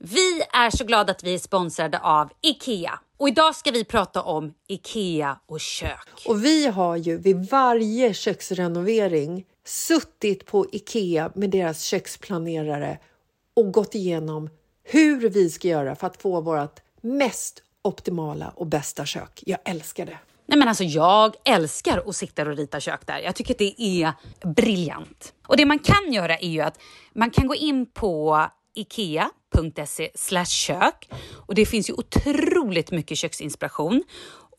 Vi är så glada att vi är sponsrade av IKEA. Och idag ska vi prata om IKEA och kök. Och vi har ju vid varje köksrenovering suttit på IKEA med deras köksplanerare och gått igenom hur vi ska göra för att få vårt mest optimala och bästa kök. Jag älskar det! Nej men alltså jag älskar att sitta och rita kök där. Jag tycker att det är briljant. Och det man kan göra är ju att man kan gå in på ikea.se kök och det finns ju otroligt mycket köksinspiration.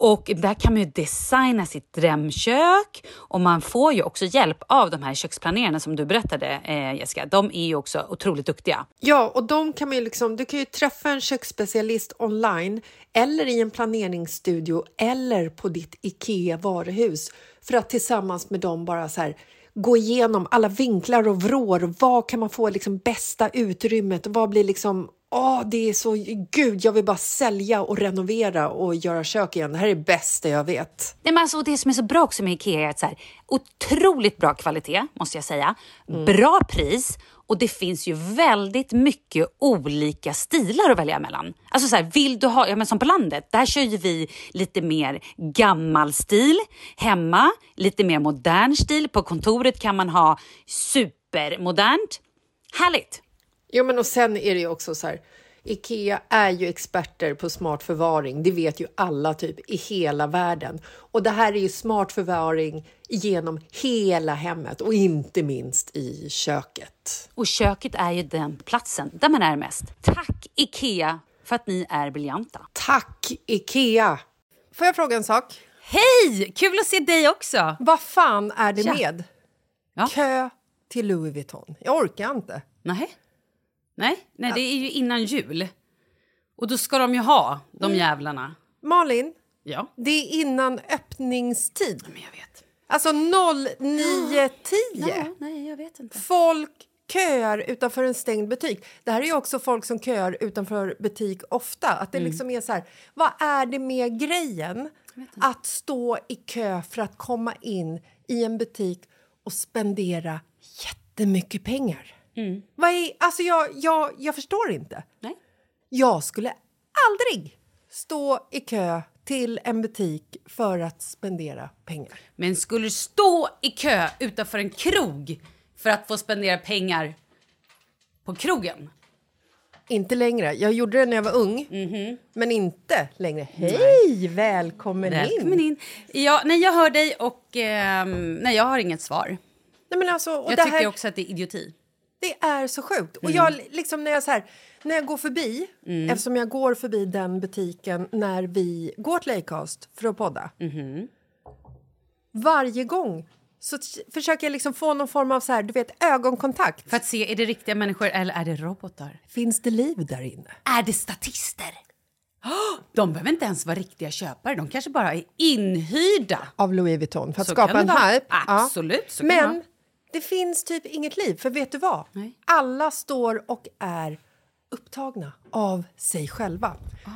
Och där kan man ju designa sitt drömkök och man får ju också hjälp av de här köksplanerarna som du berättade eh, Jessica. De är ju också otroligt duktiga. Ja, och de kan man ju liksom, du kan ju träffa en köksspecialist online eller i en planeringsstudio eller på ditt IKEA varuhus för att tillsammans med dem bara så här gå igenom alla vinklar och vrår. och Vad kan man få liksom bästa utrymmet? och Vad blir liksom... Åh, det är så... Gud, jag vill bara sälja och renovera och göra kök igen. Det här är det bästa jag vet. Nej, men alltså, det som är så bra också med IKEA är att så här, otroligt bra kvalitet, måste jag säga. Mm. Bra pris och det finns ju väldigt mycket olika stilar att välja mellan. Alltså så här, vill du ha, ja men som på landet, där kör ju vi lite mer gammal stil hemma, lite mer modern stil. På kontoret kan man ha supermodernt. Härligt! Jo, men och sen är det ju också så här. Ikea är ju experter på smart förvaring. Det vet ju alla typ i hela världen. Och det här är ju smart förvaring genom hela hemmet och inte minst i köket. Och köket är ju den platsen där man är mest. Tack IKEA för att ni är briljanta. Tack Ikea! Får jag fråga en sak? Hej! Kul att se dig också! Vad fan är det Tja. med Ja. kö till Louis Vuitton? Jag orkar inte. Nej. Nej, nej det är ju innan jul. Och då ska de ju ha, de jävlarna. Malin, Ja, det är innan öppningstid. men jag vet. Alltså 09.10. Ja, nej, jag vet inte. Folk köar utanför en stängd butik. Det här är ju också folk som köar utanför butik ofta. Att det liksom är så här, vad är det med grejen att stå i kö för att komma in i en butik och spendera jättemycket pengar? Vad är, alltså jag, jag, jag förstår inte. Nej. Jag skulle aldrig stå i kö till en butik för att spendera pengar. Men skulle du stå i kö utanför en krog för att få spendera pengar på krogen? Inte längre. Jag gjorde det när jag var ung, Mhm. men inte längre. Hej! Välkommen, Välkommen in! in. Ja, nej, jag hör dig och ehm, nej, jag har inget svar. Nej, men alltså, och Jag det, tycker här, också Mm. att det är idioti. det är så sjukt. Och jag, liksom, när, jag så här, när jag går förbi, Mm. eftersom jag går förbi den butiken när vi går till Acast för att podda Mhm. varje gång så t- försöker jag liksom få någon form av så här, du vet, ögonkontakt. För att se, är det riktiga människor eller är det robotar? Finns det liv där inne? Är det statister? Åh, Ah, De behöver inte ens vara riktiga köpare, de kanske bara är inhyrda. av Louis Vuitton för att Så skapa kan en det vara. hype. Absolut, så kan det Men vara. det finns typ inget liv, för vet du vad? Nej. Alla står och är upptagna av sig själva. Ah.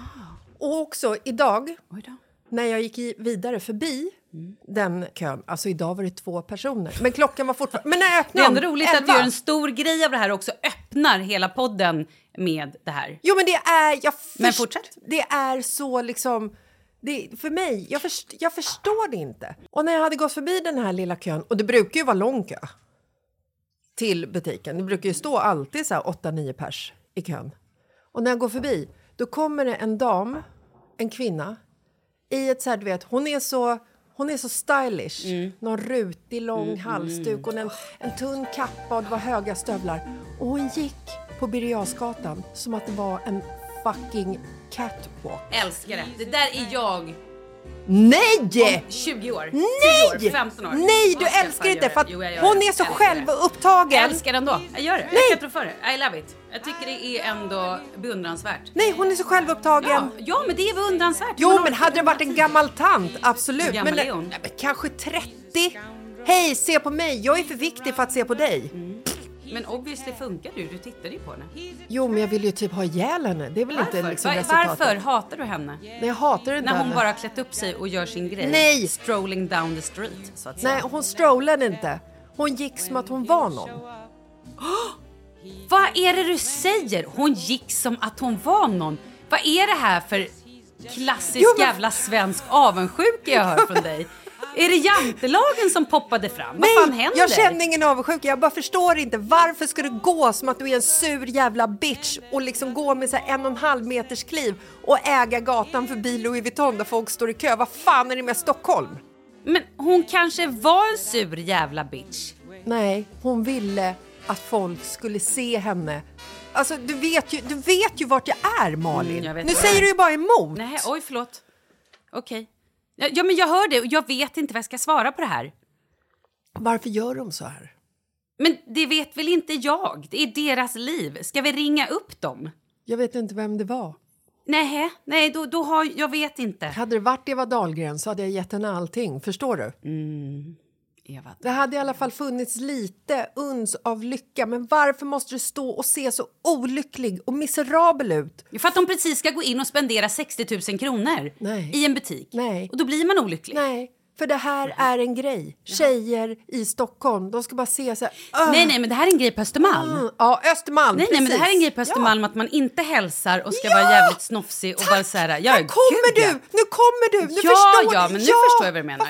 Och också idag, Oj då. när jag gick i- vidare förbi Mm. den kön, alltså idag var det två personer, men klockan var fortfarande... Men när Det är öppnade ändå de? roligt att vi Elva. gör en stor grej av det här och också öppnar hela podden med det här. Jo, men det är... Jag Men först- fortsätt. Det är så liksom... Det, för mig, jag, först, jag förstår det inte. Och när jag hade gått förbi den här lilla kön, och det brukar ju vara lång kö. till butiken. Det brukar ju stå alltid så här 8-9 pers i kön. Och när jag går förbi, då kommer det en dam, en kvinna, i ett så här, du vet, hon är så, hon är så stylish. Mm. Någon rutig lång halsduk och en, en tunn kappa och det var höga stövlar. Och hon gick på Birger Jarlsgatan som att det var en fucking catwalk. Älskar det. Det där är jag Nej! om 20 år. 10 Nej! År, 15 år. Nej, du Jag ska älskar fan inte göra för att det. Jo, jag gör hon det. är så Älskar det. Jag självupptagen. älskar det ändå. Jag gör det. Jag kan inte rå för det. I love it. Jag tycker det är ändå beundransvärt. Nej, hon är så självupptagen. Ja, ja men det är beundransvärt. Jo, Man har- men hade det varit en gammal tant, absolut. Hur gammal men, är hon? Nej, men kanske 30. Hej, se på mig. Jag är för viktig för att se på dig. Men obviously funkar du. Du tittade ju på henne. Jo, men jag vill ju typ ha ihjäl henne. Det är väl inte liksom Var- resultatet. varför hatar du henne? Nej, jag hatar inte När hon henne. bara har klätt upp sig och gör sin grej. Nej! Strolling down the street, så att säga. Nej, hon strollade inte. Hon gick som att hon var någon. Vad är det du säger? Hon gick som att hon var någon. Vad är det här för klassisk Jo, men- jävla svensk avundsjuka jag hör från dig? Är det jantelagen som poppade fram? Vad fan Nej, händer? jag känner ingen avundsjuka. Jag bara förstår inte. Varför ska du gå som att du är en sur jävla bitch och liksom gå med så här en och en halv meters kliv och äga gatan förbi Louis Vuitton där folk står i kö? Vad fan är det med Stockholm? Men hon kanske var en sur jävla bitch. Nej, hon ville att folk skulle se henne. Alltså, du vet ju, du vet ju vart jag är, Malin. Mm, jag vet nu det. säger du ju bara emot. Nej, oj förlåt. Okej. Ja, Ja men jag hör det och jag vet inte vad jag ska svara på det här. Varför gör de så här? Men det vet väl inte jag? Det är deras liv. Ska vi ringa upp dem? Jag vet inte vem det var. Nej, nej, då, då har jag vet inte. Hade det varit Eva Dahlgren så hade jag gett henne allting. Förstår du? Mm. Eva. Det hade i alla fall funnits lite uns av lycka. Men varför måste du stå och se så olycklig och miserabel ut? För att de precis ska gå in och spendera 60 000 kronor Nej. i en butik. Nej. Och då blir man olycklig. Nej, för det Mm. här är en grej. Tjejer i Stockholm, de ska bara se så här... "Åh, nej, nej, men det här är en grej på Östermalm. mm." Ja, Östermalm. Nej, nej, men det här är en grej på Ja. Östermalm att man inte hälsar och ska Ja! vara jävligt snofsig och vara så här, jag är Nu kommer du! Nu kommer du! Nu Ja, förstår ja, men du. nu förstår jag vad du menar. Vad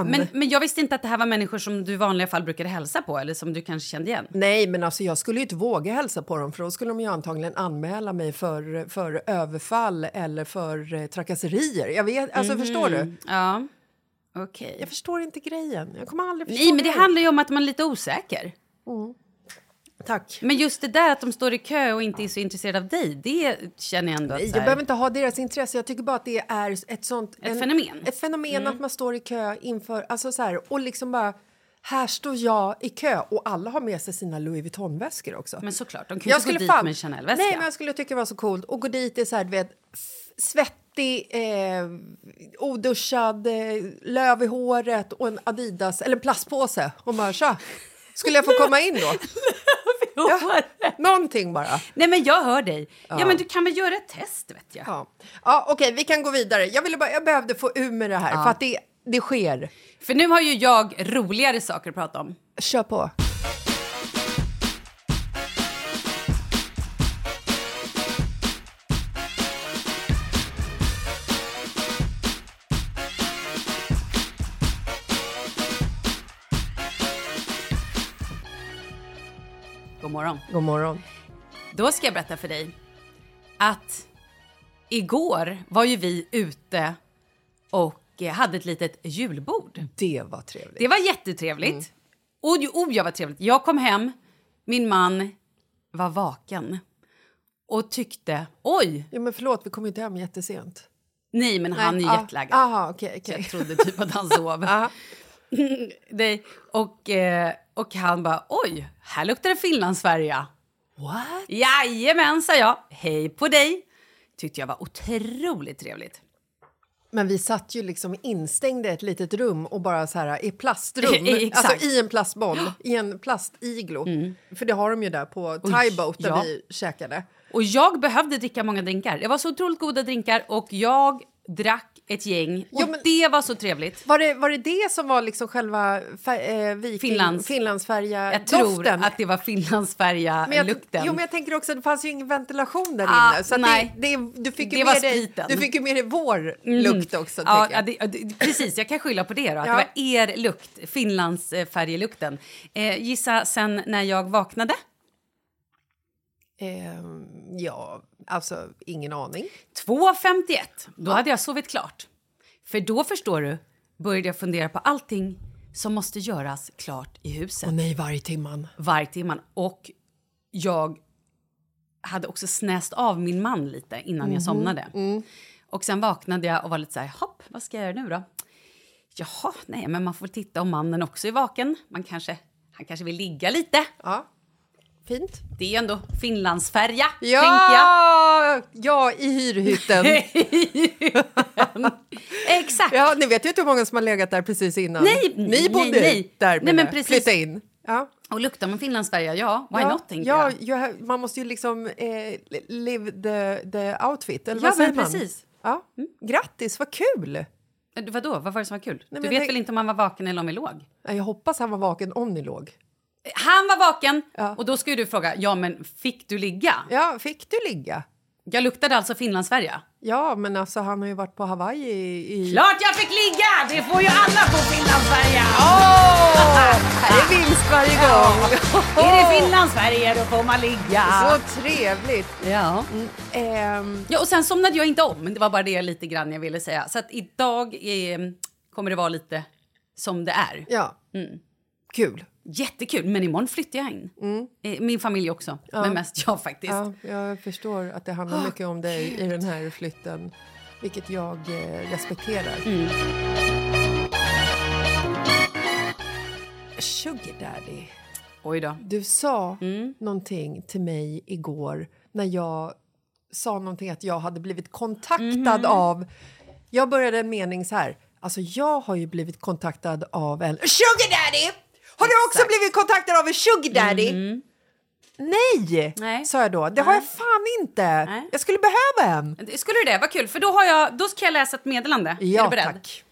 fan! Men, men jag visste inte att det här var människor som du i vanliga fall brukade hälsa på eller som du kanske kände igen. Nej, men alltså jag skulle ju inte våga hälsa på dem för då skulle de ju antagligen anmäla mig för, för överfall eller för eh, trakasserier. Jag vet, alltså Mhm. förstår du? Ja, okej. Jag förstår inte grejen. Jag kommer aldrig förstå Nej, men det grejen. handlar ju om att man är lite osäker. Tack. Men just det där att de står i kö och inte är så intresserade av dig, det känner jag ändå att Jag så här- behöver inte ha deras intresse. Jag tycker bara att det är ett sånt... Ett fenomen. Mm. Ett fenomen att man står i kö inför... Alltså så här, och liksom bara... Här står jag i kö och alla har med sig sina Louis Vuitton-väskor också. Men såklart, de kan ju inte gå dit med en Chanel-väska. Nej, men jag skulle tycka det var så coolt att gå dit i så här, du vet, f- svettig, eh, oduschad, eh, löv i håret och en Adidas, eller en plastpåse och bara tja, skulle jag få komma in då? Ja, någonting bara. Nej, men jag hör dig. Ja. men du kan väl göra ett test, vet jag. Ja, ja okej, vi kan gå vidare. Jag, ville bara, jag behövde få ur med det här för att det, det sker. För nu har ju jag roligare saker att prata om. Kör på. God morgon. God morgon. Då ska jag berätta för dig att igår var ju vi ute och eh, hade ett litet julbord. Det var trevligt. Det var jättetrevligt. Mm. Och jo, oh, jag var trevligt. Jag kom hem, min man var vaken och tyckte oj, Ja, men förlåt, vi kom ju inte hem jättesent. nej men han är Ah, jetlaggad. Aha, okej, okej. Ah. Jag trodde typ att han sov. nej. Och, eh, och han bara oj, här luktar det Finlandsfärja. What? Jajamän, sa jag. Hej på dig. Tyckte jag var otroligt trevligt. Men vi satt ju liksom instängda i ett litet rum och bara så här i plastrum, Exakt. Mm. alltså i en plastboll, i en plastiglo. För det har de ju där på thaiboat där ja. vi käkade. Och jag behövde dricka många drinkar. Det var så otroligt goda drinkar och jag drack ett gäng. Och Jo, men- det var så trevligt. Var det, var det det som var liksom själva fär, eh, viking, Finlands. Finlandsfärja Jag tror doften? att det var men jag, Finlandsfärja-lukten. jo, men jag tänker också att det fanns ju ingen ventilation där Ah, inne. Så att nej. det, det, du, fick ju Det var med dig, spriten. Mm. du fick ju med dig vår lukt också. Ja, ja, tänker jag. det, ja, det, precis, jag kan skylla på det. Då, att Ja. Det var er lukt, Finlands eh, färjelukten. Eh, gissa sen när jag vaknade. Ehm, ja, alltså ingen aning. 2.51, då hade jag sovit klart. För då, förstår du, började jag fundera på allting som måste göras klart i huset. Och nej, varje timman. varje timme. Och jag hade också snäst av min man lite innan Mhm, jag somnade. mm. Och sen vaknade jag och var lite så här, hopp, vad ska jag göra nu då? Jaha, nej, men man får titta om mannen också är vaken. Man kanske, han kanske vill ligga lite. Ja, fint. Det är ju ändå Finlandsfärja, Ja, tänker jag. ja i hyrhytten. Exakt. ja, ni vet ju inte hur många som har legat där precis innan. Nej, ni nej, bodde nej. där Nej, menar men jag. precis. Flytta in. Ja. Och luktar man Finlandsfärja, ja, why ja, not, tänker ja, jag. ja, man måste ju liksom eh, live the, the outfit, eller Ja, vad säger men man? precis. Mm. Ja. Grattis, vad kul! Eh, Vadå, vad var det som var kul? men du jag vet tänk- väl inte om han var vaken eller om vi låg? Eh, Ja, Jag hoppas han var vaken om ni låg. Han var vaken, Ja. och då ska ju du fråga, ja men fick du ligga? Ja, fick du ligga? Jag luktade alltså Finlandsfärja. Ja, men alltså han har ju varit på Hawaii i... i... Klart jag fick ligga! Det får ju alla på Finlandsfärja! Här är vinst varje gång! Är det Finlandsfärja då får man ligga. Så trevligt! Ja. Ehm, ja, och sen somnade jag inte om. men Det var bara det lite grann jag ville säga. Så att idag eh, kommer det vara lite som det är. ja, Mm. kul. Jättekul, men imorgon flyttar jag in. Eh, Min familj också, men mest jag faktiskt. Mm. Ja, jag förstår att det handlar mycket om dig i den här flytten, vilket jag eh, respekterar. Sugar daddy, Oj då. du sa Mm. någonting till mig igår när jag sa någonting att jag hade blivit kontaktad Mhm. av... Jag började en mening så här. Alltså, jag har ju blivit kontaktad av en sugar daddy! Har du också Exakt. Mm. blivit kontaktad av en sugar daddy? Nej, Nej. sa jag då. Det har jag fan inte. Nej. Jag skulle behöva en. Skulle du det? Vad kul, för då, har jag, då ska jag läsa ett meddelande. är du Ja, beredd? Eh, tack.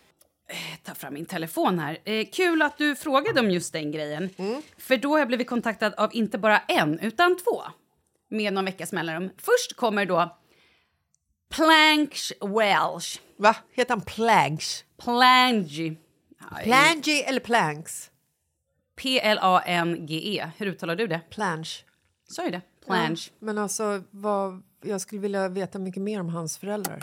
ta fram min telefon här. Eh, kul att du frågade om just den grejen. Mm. För då har jag blivit kontaktad av inte bara en, utan två. Med någon veckas mellanrum. Först kommer då Planks Welsh. Va? Heter han Planks? Plangy. Ja, eh, Plangy eller Planks? P-L-A-N-G-E. E. Hur uttalar du det? Planch. Sa jag det? Plange. Men alltså, vad, jag skulle vilja veta mycket mer om hans föräldrar.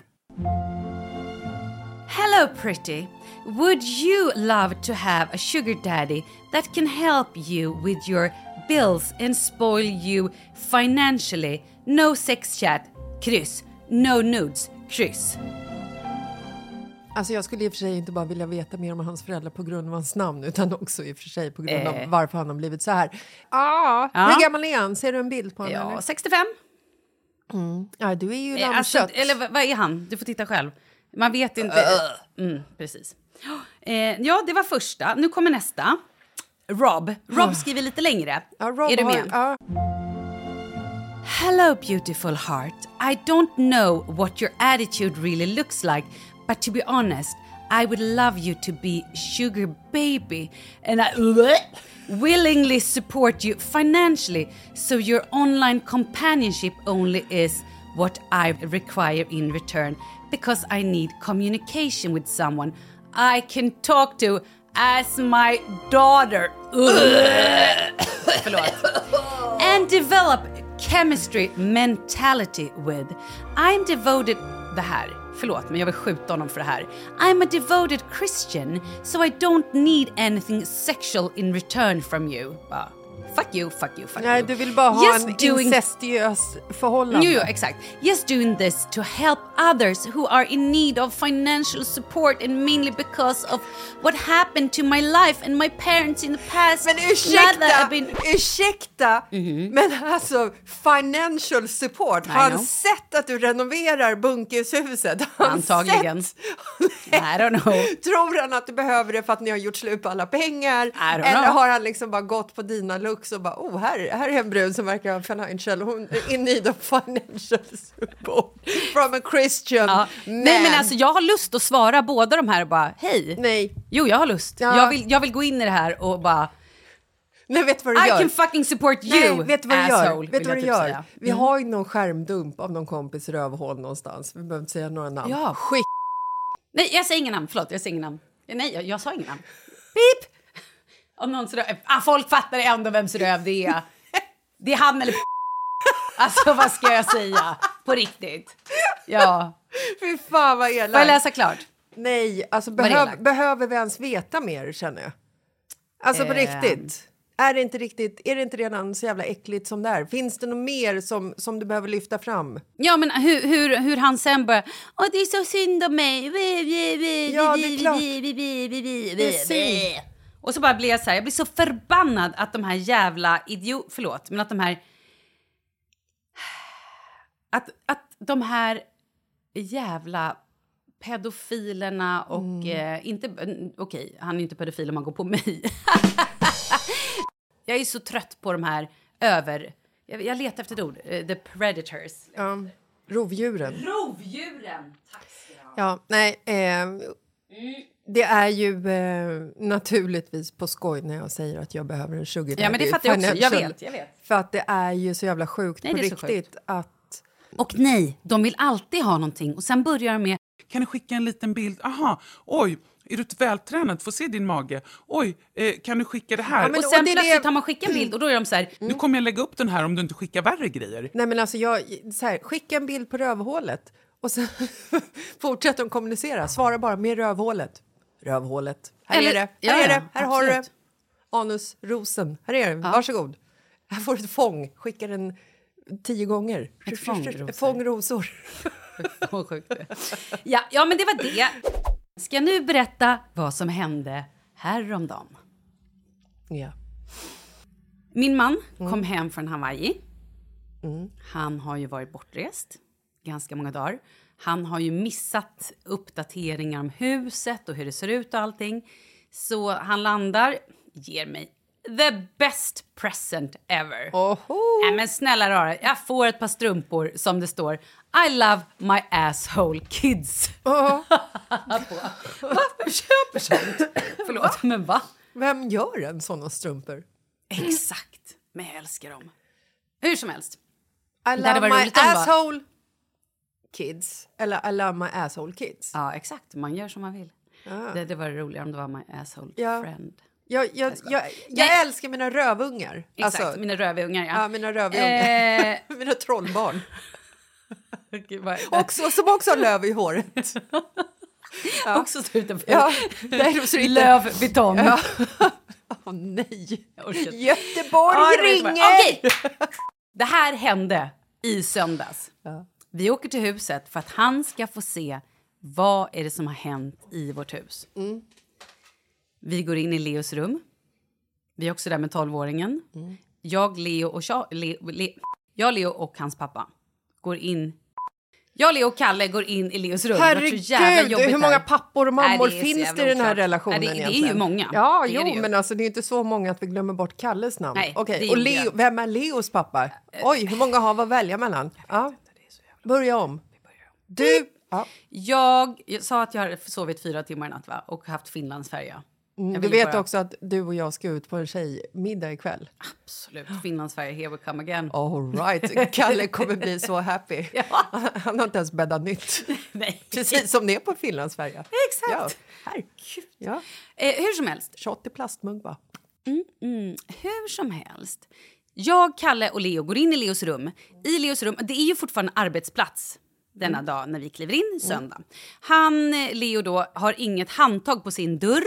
Hello, pretty. Would you love to have a sugar daddy that can help you with your bills and spoil you financially? No sex chat, kryss. No nudes, kryss. Alltså jag skulle i och för sig inte bara vilja veta mer om hans föräldrar på grund av hans namn utan också i och för sig på grund Eh. av varför han har blivit så här. Ah, Hur gammal är han? Ser du en bild på honom? Ja, eller? 65. Ja, du är ju Eh, Alltså, lammkött. eller vad vad är han? Du får titta själv. Man vet inte. Äh. Mm, precis. Eh, ja, det var första. Nu kommer nästa. Rob. Rob skriver lite längre. Ah. Ja, Rob är du med? Har, ja. Hello, beautiful heart. I don't know what your attitude really looks like, but to be honest, I would love you to be sugar baby, and I willingly support you financially. So your online companionship only is what I require in return, because I need communication with someone I can talk to as my daughter. and develop chemistry mentality with. I'm devoted... Det här. Förlåt, men jag vill skjuta honom för det här. I'm a devoted Christian, so I don't need anything sexual in return from you. Bara, fuck you, fuck you, fuck Nej, you. du vill bara ha Just en doing- incestuös förhållande. Jo, jo, exakt. Yes, doing this to help others who are in need of financial support and mainly because of what happened to my life and my parents in the past. Men Now that ursäkta, I've been- ursäkta, men alltså financial support, har Mhm. know. han sett att du renoverar bunkishuset? Har han Antagligen. sett- I don't know. Tror han att du behöver det för att ni har gjort slut på alla pengar? don't Eller know. har han liksom bara gått på dina looks och bara oh, här, här är en brud som verkar ha financial, hon är in need of financial support from a Christian Ja. man. Nej men alltså jag har lust att svara båda de här och bara hej. Nej. Jo jag har lust. Ja. Jag, vill, jag vill gå in i det här och bara Nej, vet du vad du I gör? can fucking support you Nej, vet du vad du asshole. gör? vill Vet du jag vad du typ gör? säga. Vi har ju någon skärmdump av någon kompis rövhål någonstans. Vi behöver inte säga några namn. Ja. Skit. Nej jag säger inga namn, förlåt jag säger inga namn. Nej jag, jag sa inga namn. Pip! Om någon röv, ah, folk fattar ändå vems röv det är. Det är han eller Alltså vad ska jag säga? På riktigt. Ja. Fy fan vad Får jag elakt. läsa klart? Nej, alltså är behöv, elakt? behöver vi ens veta mer känner jag? Alltså på Ehm. riktigt. Är det, inte riktigt, är det inte redan så jävla äckligt som det är? Finns det något mer som, som du behöver lyfta fram? Ja, men hur, hur, hur han sen bara... Åh, det är så synd om mig. Vi, vi, vi, Ja, vi, det är vi, klart. vi, vi, vi, vi, vi, vi, Precis. vi. Och så bara blir jag så här, jag blir så förbannad att de här jävla idiot... Förlåt, men att de här... Att, att de här jävla pedofilerna och... Mm. Eh, inte, okej, han är ju inte pedofil om han går på mig. jag är så trött på de här över... Jag, jag letar efter ett ord. eh, The predators. Ja, rovdjuren. Rovdjuren! Tack ska du ha. Ja, nej. Eh, det är ju eh, naturligtvis på skoj när jag säger att jag behöver en sugar daddy. Ja, men det fattar jag också. Jag financial. vet, jag vet. För att det är ju så jävla sjukt Nej, på det är så riktigt att... Och nej, de vill alltid ha någonting. Och sen börjar de med... Kan du skicka en liten bild? Aha, oj, är du vältränad? Få se din mage. Oj, eh, kan du skicka det här? Ja, men- och och sen det är plötsligt det- har man skickat en bild och då är de så här... Nu kommer jag lägga upp den här om du inte skickar värre grejer. Nej, men alltså jag, så här, skicka en bild på rövhålet och sen fortsätter de kommunicera. Svara bara med rövhålet. Rövhålet. Här Eller- är det. Här ja, är ja, det. Här har du det. absolut. Anusrosen. Här är den. Varsågod. Här får du ett fång. Skicka den tio gånger. Ett fång rosor. Fång rosor. Vad sjukt det är. ja, ja, men det var det. Ska jag nu berätta vad som hände häromdagen? Ja. Min man kom hem från Hawaii. Han har ju varit bortrest ganska många dagar. Han har ju missat uppdateringar om huset och hur det ser ut och allting. Så han landar, ger mig the best present ever. Oho. Nej men snälla rara, jag får ett par strumpor som det står I love my asshole kids. På. Varför köper sånt? Förlåt, men va? Vem gör en såna strumpor? Exakt, men jag älskar dem. Hur som helst. I hade love varit my roligt om det var- asshole kids. Eller I love my asshole kids. Ja, exakt. Man gör som man vill. Det, det var roligare om det var my asshole Ja. friend. Jag, jag, jag, jag Nej. älskar mina rövungar. Exakt, Alltså, mina rövungar ja. Eh, ja, mina rövungar. mina trollbarn. Gud, vad är det? Också, som också har löv i håret. Också stå utanför. Ja, där de ser inte- Löv, betong. Åh nej! Jag orkar inte. Göteborg Ja, det var ringer! jättebra. Okej! Det här hände i söndags. Vi åker till huset för att han ska få se vad är det som har hänt i vårt hus. Mm. Vi går in i Leos rum. Vi är också där med 12-åringen. Mm. Jag, Leo och Cha- Le, Le, jag, Leo och hans pappa går in. Jag, Leo och Kalle går in i Leos rum. Det har varit så jävla Herregud, jobbigt hur många här. pappor och Nej, mammor är så finns jävla det i den här oklart. relationen? Nej, det, det är ju egentligen? många. Ja, Det är jo, det ju. men alltså, det är ju inte så många att vi glömmer bort Kalles namn. Nej, Okej, det och gjorde Leo, jag. vem är Leos pappa? Äh, Oj, hur många har vi att välja mellan? Ja. Börja om. Du... Mm, Ja. Jag, jag sa att jag hade sovit fyra timmar i natt va? och haft Finlandsfärja. Jag Du ville vet bara- också att du och jag ska ut på en tjejmiddag ikväll. Absolut. Finlandsfärja, here we come again. All right. Kalle kommer bli så happy. Han har inte ens bäddat nytt. Nej. Precis som det är på Finlandsfärja. Exakt. Ja. Här. Ja. Eh, hur som helst. Shot i plastmugg bara. Hur som helst. Jag, Kalle och Leo går in i Leos rum. I Leos rum, det är ju fortfarande arbetsplats denna Mm. dag när vi kliver in, söndag. Han, eh, Leo då, har inget handtag på sin dörr.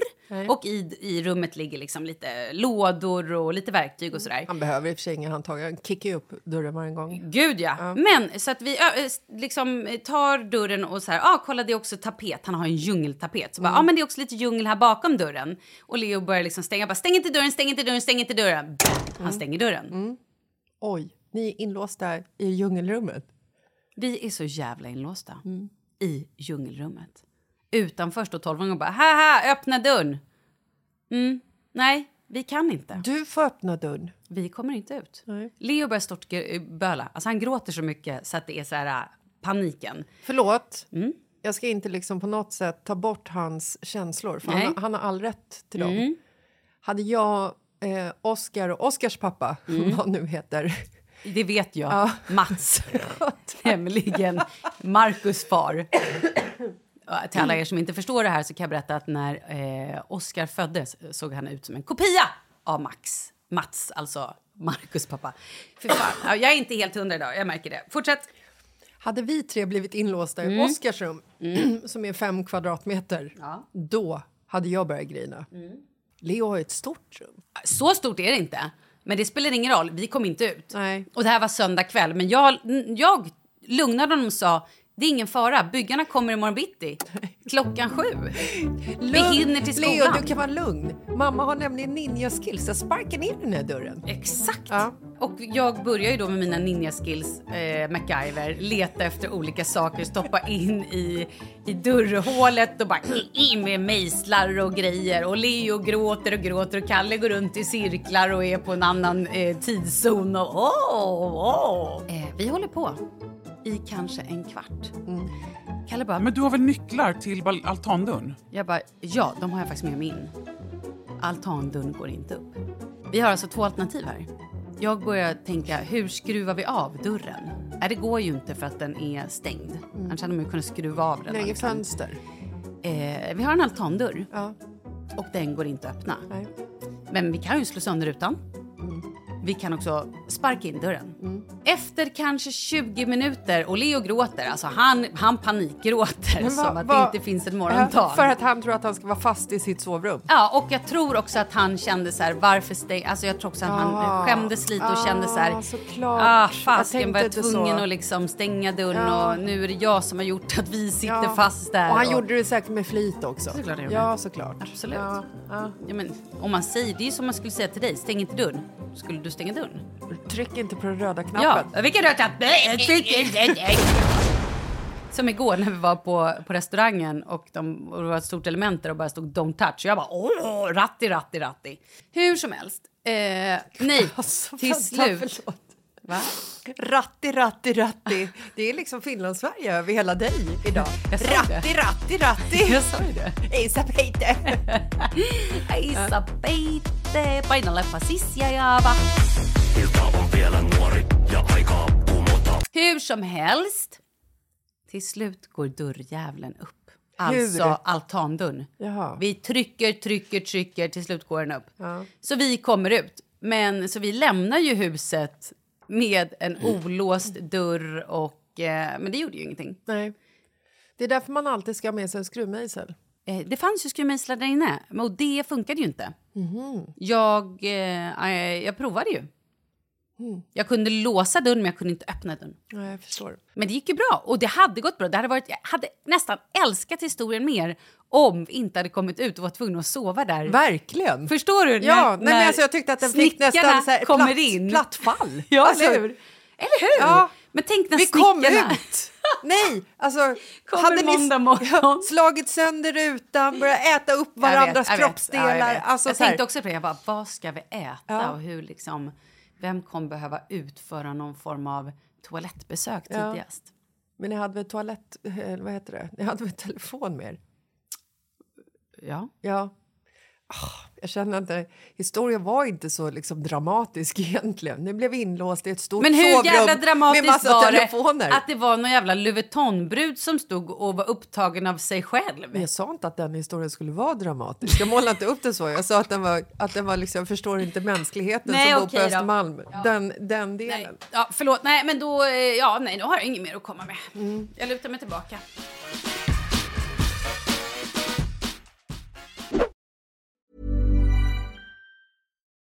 Och i, i rummet ligger liksom lite lådor och lite Mm. verktyg och sådär. Han behöver i och för sig inga handtag. Han kickar ju upp dörren varje gång. Gud ja. Men så att vi ö, s- liksom eh, tar dörren och så här, ah, kolla det är också tapet. Han har en djungeltapet. Så bara, ah, men det är också lite djungel här bakom dörren. Och Leo börjar liksom stänga, bara stäng inte dörren, stäng inte dörren, stäng inte dörren. Han stänger dörren. Oj, ni är inlåsta i djungelrummet. Vi är så jävla inlåsta i djungelrummet. Utanför står tolvåringen och bara, haha, öppna dörren. Mm, nej, Vi kan inte. Du får öppna dörren. Vi kommer inte ut. Leo börjar störtböla. Alltså han gråter så mycket så att det är så här äh, paniken. Förlåt. Mm. Jag ska inte liksom på något sätt ta bort hans känslor, för han, Nej. Mm. har- han har all rätt till dem. Hade jag eh, Oscar och Oscars pappa, Mm. vad nu heter... Det vet jag. Mats. Nämligen Marcus far. Ja, Till alla er som inte förstår det här så kan jag berätta att när eh, Oscar föddes såg han ut som en kopia av Max. Mats, alltså Marcus pappa. Fy fan. Ja, jag är inte helt hundra idag, jag märker det. Fortsätt. Hade vi tre blivit inlåsta i Mm. Oscars rum, som är fem kvadratmeter, då hade jag börjat grina. Mm. Leo har ju ett stort rum. Så stort är det inte. Men det spelar ingen roll, vi kom inte ut. Nej. Och det här var söndag kväll. Men jag, jag lugnade honom och sa det är ingen fara, byggarna kommer imorgon bitti. Klockan sju. Vi hinner till skolan. Leo, du kan vara lugn. Mamma har nämligen ninja-skills. Jag sparkar ner den här dörren. Exakt! Ja. Och jag börjar ju då med mina ninja skills, eh, MacGyver, leta efter olika saker, stoppa in i, i dörrhålet och bara in med mejslar och grejer. Och Leo gråter och gråter och Kalle går runt i cirklar och är på en annan eh, tidszon och åh, åh. Eh, vi håller på Mm. i kanske en kvart. Kalle bara, Men du har väl nycklar till bal- altandörren? jag bara, ja, de har jag faktiskt med mig in. Altandörren går inte upp. Vi har alltså två alternativ här. Jag börjar tänka, hur skruvar vi av dörren? Nej, det går ju inte för att den är stängd. Annars hade man ju kunnat skruva av den. Mm. Nej, inget liksom. fönster. eh, vi har en altandörr Ja. och den går inte att öppna. Nej. Mm. Men vi kan ju slå sönder rutan. Vi kan också sparka in dörren. Efter kanske 20 minuter, och Leo gråter, alltså han, han panikgråter Men vad- som att vad- det inte finns ett Ja, morgondag. För att han tror att han ska vara fast i sitt sovrum. Ja, och jag tror också att han kände så här, varför stäng... Alltså jag tror också att han eh, skämdes lite och kände så här, Ah, såklart. ah Jag tänkte fasken var jag inte tvungen så. att liksom stänga dörren och nu är det jag som har gjort att vi sitter Ja. fast där. Och han gjorde det säkert med flit också. Såklart han gjorde. ja, såklart. Absolut. Ja, ja. Ja, men, om man säger, det är ju som man skulle säga till dig, stäng inte dörren. Skulle du stänga dörren? Tryck inte på den röda Ja, knappen. vilken röd knapp? Som igår när vi var på, på restaurangen och, de, och det var ett stort element där och bara stod don't touch. Och jag bara åh, ratti, ratti, ratti. Hur som helst. Eh, nej, Alltså, till vänta, slut. förlåt. Va? Ratti, ratti, ratti. Det är liksom Finland-Sverige över hela dig idag. Jag sa det. Ratti, ratti, ratti. Jag sa ju det. Isa Peite. Aisa peite, paina läppä sissia ja va. Hur som helst. Till slut går dörrjävlen upp. Alltså Hur? altandörren. Jaha. Vi trycker, trycker, trycker. Till slut går den upp. Så vi kommer ut. Men så vi lämnar ju huset med en olåst dörr och... Eh, men det gjorde ju ingenting. Nej. Det är därför man alltid ska ha med sig en skruvmejsel. Eh, det fanns ju skruvmejslar där inne, men- och det funkade ju inte. Mhm. Jag, eh, eh, jag provade ju. Mm. Jag kunde låsa dörren, men jag kunde inte öppna dörren. Ja, jag förstår. Men det gick ju bra, och det hade gått bra. Det hade varit, jag hade nästan älskat historien mer om vi inte hade kommit ut och var tvungna att sova där. Verkligen. Förstår du? Ja, nej, men alltså jag tyckte att den fick snickarna nästan så här kommer platt- in. platt fall. Ja, Alltså- eller hur? Eller hur? Ja. Men tänk när Vi kom snickarna... ut! Nej, alltså... Kommer hade ni s- måndag morgon. Ja, slagit sönder rutan, börjat äta upp Jag vet, varandras jag vet, kroppsdelar. ja, jag vet. Alltså, jag så här, tänkte också på det. Jag bara, vad ska vi äta Ja. och hur liksom, vem kommer behöva utföra någon form av toalettbesök Ja. tidigast? Men ni hade väl toalett... eh, Vad heter det? Ni hade väl telefon med er? Ja. Ja. Ah, Jag känner inte... Historien var inte så liksom dramatisk egentligen. Ni blev inlåst i ett stort Men hur sovrum jävla dramatiskt med massa var telefoner. det att det var någon jävla Louveton-brud som stod och var upptagen av sig själv? Men jag sa inte att den historien skulle vara dramatisk. Jag målade inte upp den så. Jag sa att den var, att den var liksom, jag förstår inte mänskligheten Nej, som bor på okej då. Östermalm. Den, den delen. Nej, ja, förlåt. Nej, men då, eh, ja, nej, då har jag inget mer att komma med. Mm. Jag lutar mig tillbaka.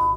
a-"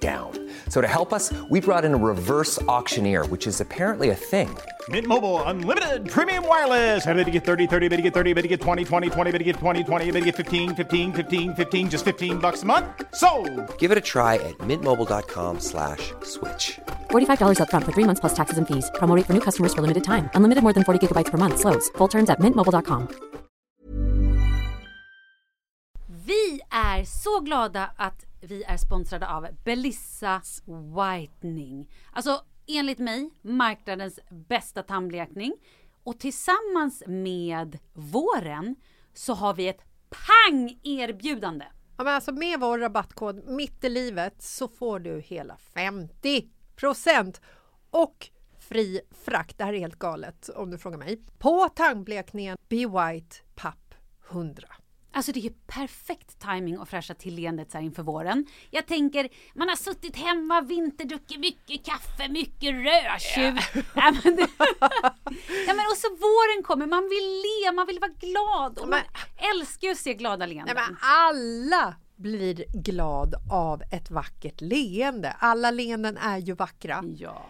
down. So to help us, we brought in a reverse auctioneer, which is apparently a thing. Mint Mobile unlimited premium wireless. Ready to get 30, 30, bit to get 30, bit to get 20, 20, 20, bit to get 20, 20, bit to get 15, 15, 15, 15 just 15 bucks a month. So, Give it a try at mintmobile.com slash switch. $45 upfront for three months plus taxes and fees. Promoting for new customers for limited time. Unlimited more than 40 gigabytes per month. Slows. Full terms at mintmobile.com. Vi är så glada att vi är sponsrade av Belissa Whitening. Alltså enligt mig marknadens bästa tandblekning. Och tillsammans med våren så har vi ett pang-erbjudande. Ja, men alltså med vår rabattkod Mitt i livet så får du hela 50 och fri frakt. Det här är helt galet om du frågar mig. På tandblekningen Be White Papp 100. Alltså det är ju perfekt timing att fräscha till leendet så här inför våren. Jag tänker, man har suttit hemma, vinterduckit mycket kaffe, mycket rödtjut. Ja. men det- ja men och så våren kommer, man vill le, man vill vara glad och man älskar ju att se glada leenden. Nej, men alla blir glad av ett vackert leende. Alla leenden är ju vackra. Ja.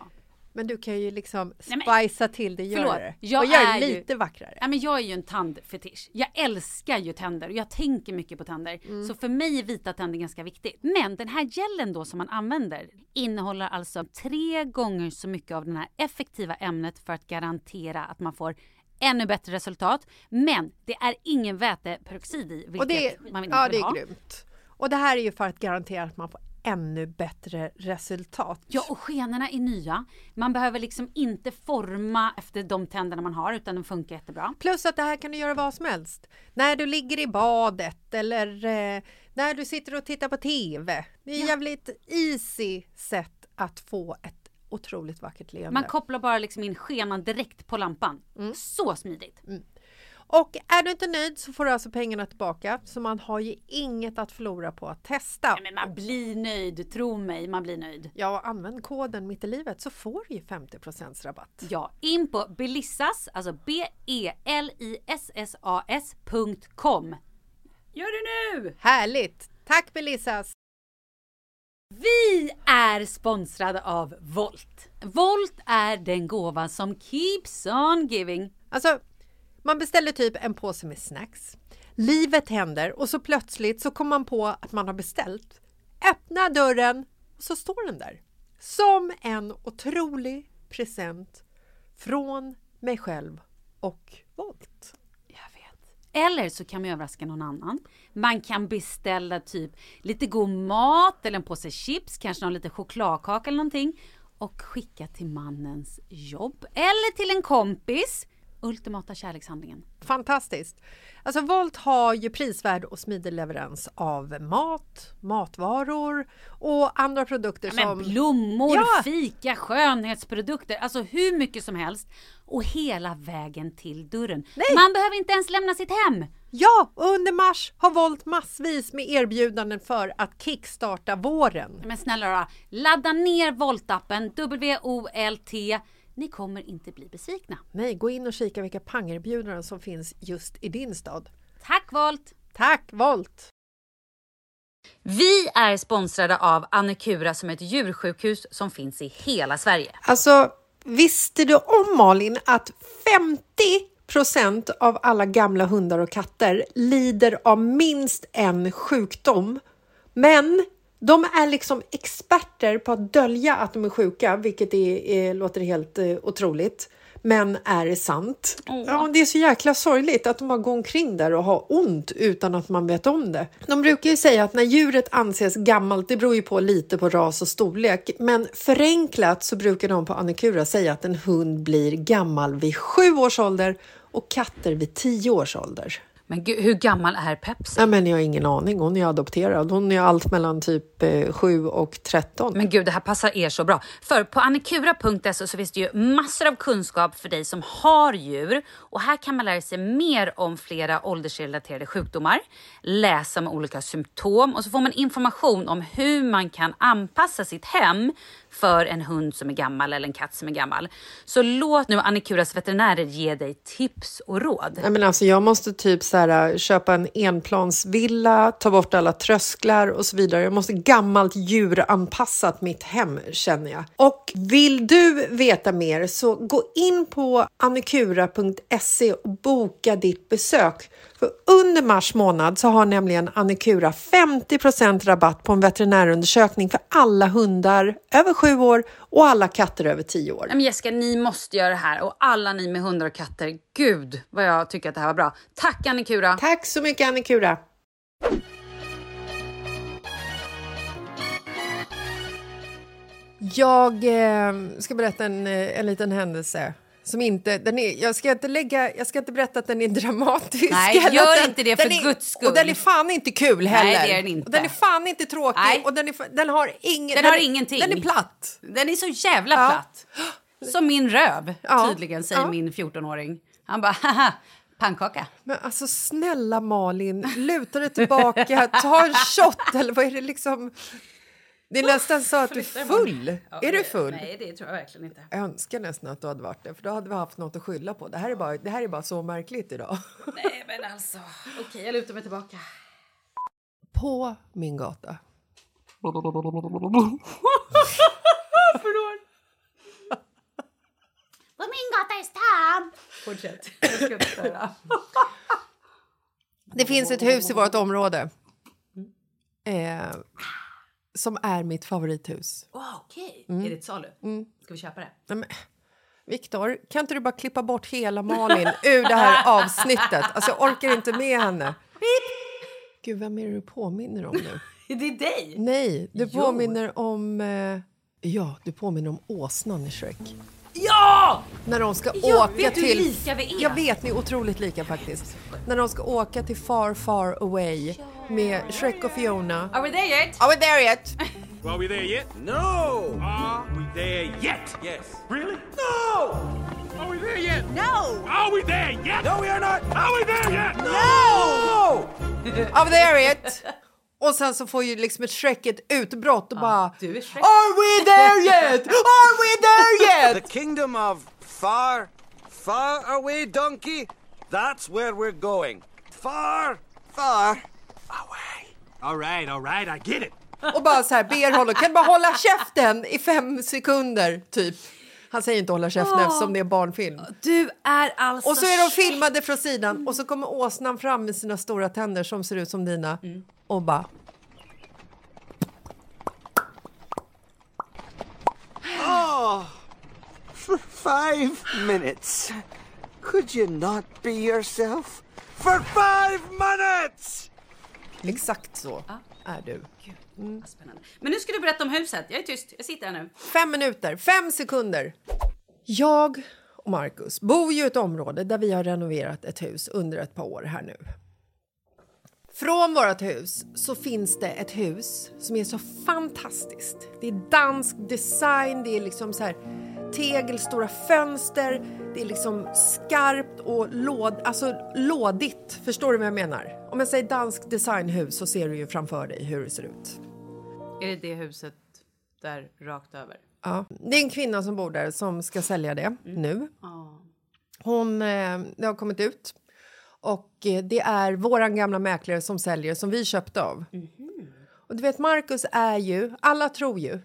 Men du kan ju liksom Nej, men- spicea till det, Förlåt, göra det. jag och göra är det ju- lite vackrare. Ja, men jag är ju en tandfetisch. Jag älskar ju tänder och jag tänker mycket på tänder. Mm. Så för mig är vita tänder ganska viktigt. Men den här gelen då som man använder innehåller alltså tre gånger så mycket av det här effektiva ämnet för att garantera att man får ännu bättre resultat. Men det är ingen väteperoxid i, vilket Och det, man inte ja, vill det ha. är grymt. Och det här är ju för att garantera att man får ännu bättre resultat. Ja, och skenorna är nya. Man behöver liksom inte forma efter de tänderna man har utan de funkar jättebra. Plus att det här kan du göra vad som helst. När du ligger i badet eller eh, när du sitter och tittar på TV. Det är ett jävligt easy sätt att få ett otroligt vackert leende. Man kopplar bara liksom in skenan direkt på lampan. Så smidigt. och är du inte nöjd så får du alltså pengarna tillbaka. Så man har ju inget att förlora på att testa. Nej, men man blir nöjd, tro mig, man blir nöjd. Ja, använd koden Mitt i livet så får du ju 50 rabatt. Ja, in på belissas, alltså B-E-L-I-S-S-A-S.com. Gör det nu! Härligt! Tack Belissas! Vi är sponsrade av Volt. Volt är den gåva som keeps on giving. Alltså, man beställer typ en påse med snacks. Livet händer och så plötsligt så kommer man på att man har beställt. Öppna dörren och så står den där. Som en otrolig present från mig själv och Volt. Jag vet. Eller så kan man överraska någon annan. Man kan beställa typ lite god mat eller en påse chips, kanske någon liten chokladkaka eller någonting. Och skicka till mannens jobb eller till en kompis. Ultimata kärlekshandlingen. Fantastiskt! Alltså Volt har ju prisvärd och smidig leverans av mat, matvaror och andra produkter Men som... blommor, Ja. fika, skönhetsprodukter, alltså hur mycket som helst. Och hela vägen till dörren. Man behöver inte ens lämna sitt hem. Ja, och under mars har Volt massvis med erbjudanden för att kickstarta våren. Men snälla då, ladda ner Volt-appen, W-O-L-T. Ni kommer inte bli besvikna. Nej, gå in och kika vilka pangerbjudanden som finns just i din stad. Tack Volt! Tack Volt! Vi är sponsrade av Annikura som är ett djursjukhus som finns i hela Sverige. Alltså, visste du om Malin att 50 av alla gamla hundar och katter lider av minst en sjukdom? Men de är liksom experter på att dölja att de är sjuka, vilket är, är, låter helt eh, otroligt. Men är det sant? Ja, det är så jäkla sorgligt att de bara går omkring där och har ont utan att man vet om det. De brukar ju säga att när djuret anses gammalt, det beror ju på lite på ras och storlek, men förenklat så brukar de på Annikura säga att en hund blir gammal vid sju års ålder och katter vid tio års ålder. Men gud, hur gammal är Pepsi? Nej, men jag har ingen aning. Hon är adopterad. Hon är allt mellan typ eh, 7 och 13. Men gud, det här passar er så bra. För på annikura.se så finns det ju massor av kunskap för dig som har djur. Och här kan man lära sig mer om flera åldersrelaterade sjukdomar, läsa om olika symptom och så får man information om hur man kan anpassa sitt hem för en hund som är gammal eller en katt som är gammal. Så låt nu Annikuras veterinärer ge dig tips och råd. Nej, men alltså, jag måste typ så här, köpa en enplansvilla, ta bort alla trösklar och så vidare. Jag måste gammalt djuranpassat mitt hem känner jag. Och vill du veta mer så gå in på annikura.se och boka ditt besök. För under mars månad så har nämligen Annikura 50 rabatt på en veterinärundersökning för alla hundar över 7 år och alla katter över 10 år. Nej, men Jessica, ni måste göra det här och alla ni med hundar och katter. Gud vad jag tycker att det här var bra. Tack Annikura! Tack så mycket Annikura! Jag eh, ska berätta en, eh, en liten händelse. Som inte, den är, jag, ska inte lägga, jag ska inte berätta att den är dramatisk. Nej, eller gör att den, inte det för den är, guds skull. Och den är fan inte kul heller. det är den inte. Och den är fan inte tråkig. Nej. Och den, är, fa- den, har ingen, Den har ingenting. Den är platt. Den är så jävla Ja. platt. Som min röv, Ja. tydligen, säger Ja. min 14-åring. Han bara, haha, pannkaka. Men alltså snälla Malin, luta dig tillbaka, ta en shot eller vad är det liksom? Det är nästan så att du är full. Är du full? Nej, det tror jag verkligen inte. Jag önskar nästan att du hade varit det, för då hade vi haft något att skylla på. Det här är bara, det här är bara så märkligt idag. Nej, men alltså. Okej, jag lutar mig tillbaka. På min gata. På min gata är Stam! Fortsätt. Jag ska inte störa. Det finns ett hus i vårt område. Eh, som är mitt favorithus. Wow, okej. Mm. Är det ett salu? Ska vi köpa det? Nej, men, Viktor, kan inte du bara klippa bort hela Malin ur det här avsnittet? Alltså, jag orkar inte med henne. Gud, vem är det du påminner om nu? Är det dig? Nej, du påminner om... Eh, ja, du påminner om åsnan i Shrek. Ja! När de ska Ja, åka vet du hur till... lika vi är? Jag vet, ni är otroligt lika faktiskt. När de ska åka till Far Far Away med Shrek och Fiona. Are we there yet? Are we there yet? Are we there yet? No! Are we there yet? Yes. Really? No! Are we there yet? No! Are we there yet? No, we are not! Are we there yet? No! Are we there yet? Och sen så får ju liksom ett Shrek ett utbrott och bara... Du är Shrek. Are we there yet? Are we there The yet? kingdom of far, far away, donkey. That's where we're going. Far, far away. All right, all right, I get it. Och bara så här ber honom, kan du bara hålla käften i fem sekunder typ? Han säger inte hålla käften eftersom det är barnfilm. Du är alltså... Och så är de filmade från sidan och så kommer åsnan fram med sina stora tänder som ser ut som dina och bara... Ah, For five minutes. Could you not be yourself? For five minutes! Exakt så Ah. är du. Vad Spännande. Men nu ska du berätta om huset. Jag är tyst. Jag sitter här nu. Fem minuter, fem sekunder. Jag och Marcus bor ju i ett område där vi har renoverat ett hus under ett par år här nu. Från vårt hus så finns det ett hus som är så fantastiskt. Det är dansk design, det är liksom så här tegel, stora fönster, det är liksom skarpt och låd, alltså lådigt. Förstår du vad jag menar? Om jag säger dansk designhus så ser du ju framför dig hur det ser ut. Är det det huset där rakt över? Ja. Det är en kvinna som bor där som ska sälja Mm. det nu. Hon, eh, det har kommit ut. Och eh, det är våran gamla mäklare som säljer, som vi köpte av. Mhm. Och du vet, Marcus är ju... Alla tror ju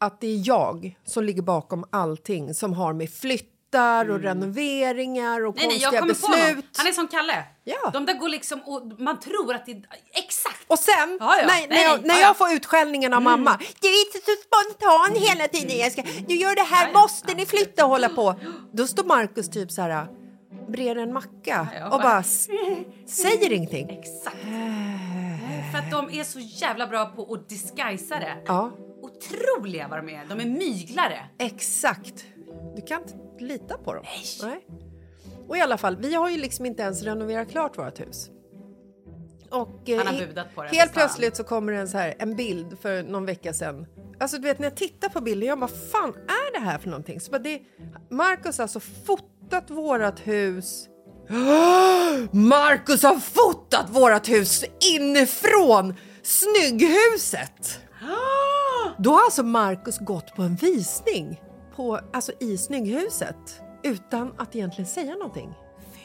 att det är jag som ligger bakom allting som har med flyttar och renoveringar och Mm. Nej, nej, jag konstiga kommer på beslut. honom. Han är som Kalle. Ja. De där går liksom och man tror att det är exakt. Och sen, Ja, ja. när, när, Nej, jag, när ja, ja. Mm. jag får utskällningen av mamma. Du är inte så spontan hela tiden Jessica. Du gör det här, måste ni flytta och hålla på? Då står Markus typ så här brer en macka ja. och bara s- säger ingenting. Exakt. För att de är så jävla bra på att disguisa det. Ja, Otroliga vad de är. De är myglare. exakt. Du kan inte lita på dem. Nej. Och i alla fall, vi har ju liksom inte ens renoverat klart vårt hus. Och, eh, Han har he- budat på det, Helt sa han. plötsligt så kommer det en, så här, en bild för någon vecka sedan. Alltså du vet när jag tittar på bilden, jag bara fan är det här för någonting? Så bara, det, Marcus har alltså fotat vårat hus. Marcus har fotat vårat hus inifrån snygghuset. Då har alltså Marcus gått på en visning på, alltså i snygghuset utan att egentligen säga någonting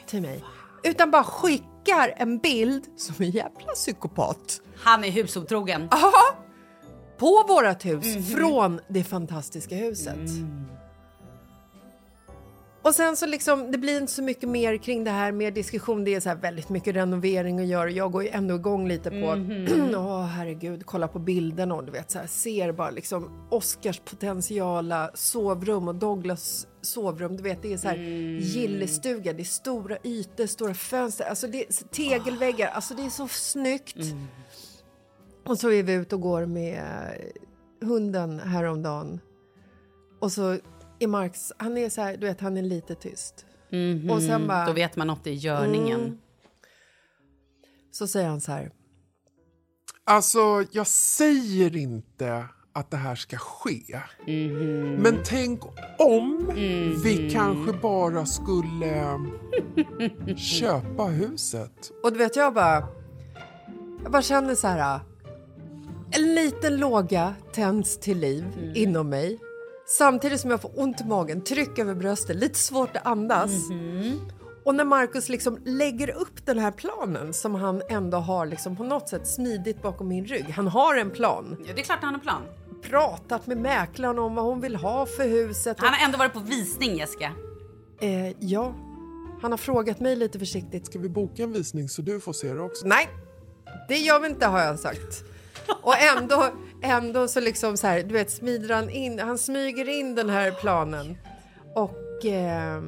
till mig. Utan bara skickar en bild som en jävla psykopat. Han är husotrogen. Aha! På vårat hus från det fantastiska huset. Och sen så liksom, det blir inte så mycket mer kring det här, mer diskussion. Det är så här väldigt mycket renovering att göra. Jag går ju ändå igång lite på, åh herregud, kolla på bilderna och du vet så här, ser bara liksom Oscars potentiala sovrum och Douglas sovrum. Du vet, det är så här gillestuga, det är stora ytor, stora fönster, alltså det är tegelväggar, alltså det är så snyggt. Och så är vi ute och går med eh, hunden häromdagen. Och så är Marx, han är så här, du vet, han är lite tyst. Och sen bara, Mhm. Då vet man något i görningen. Mm. så säger han så här, Alltså, jag säger inte att det här ska ske. Men tänk om vi kanske bara skulle köpa huset. och du vet jag bara, jag bara känner så här, ah, en liten låga tänds till liv inom mig. Samtidigt som jag får ont i magen, tryck över bröstet, lite svårt att andas. Och när Marcus liksom lägger upp den här planen som han ändå har liksom på något sätt smidigt bakom min rygg. Han har en plan. Ja, det är klart han har plan. pratat med mäklaren om vad hon vill ha för huset. Han har ändå varit på visning Jessica. Och, eh, ja, han har frågat mig lite försiktigt. Ska vi boka en visning så du får se det också? Nej, det gör vi inte har jag sagt. Och ändå, ändå så liksom så här, du vet, smider han in, han smyger in den här planen. Och eh,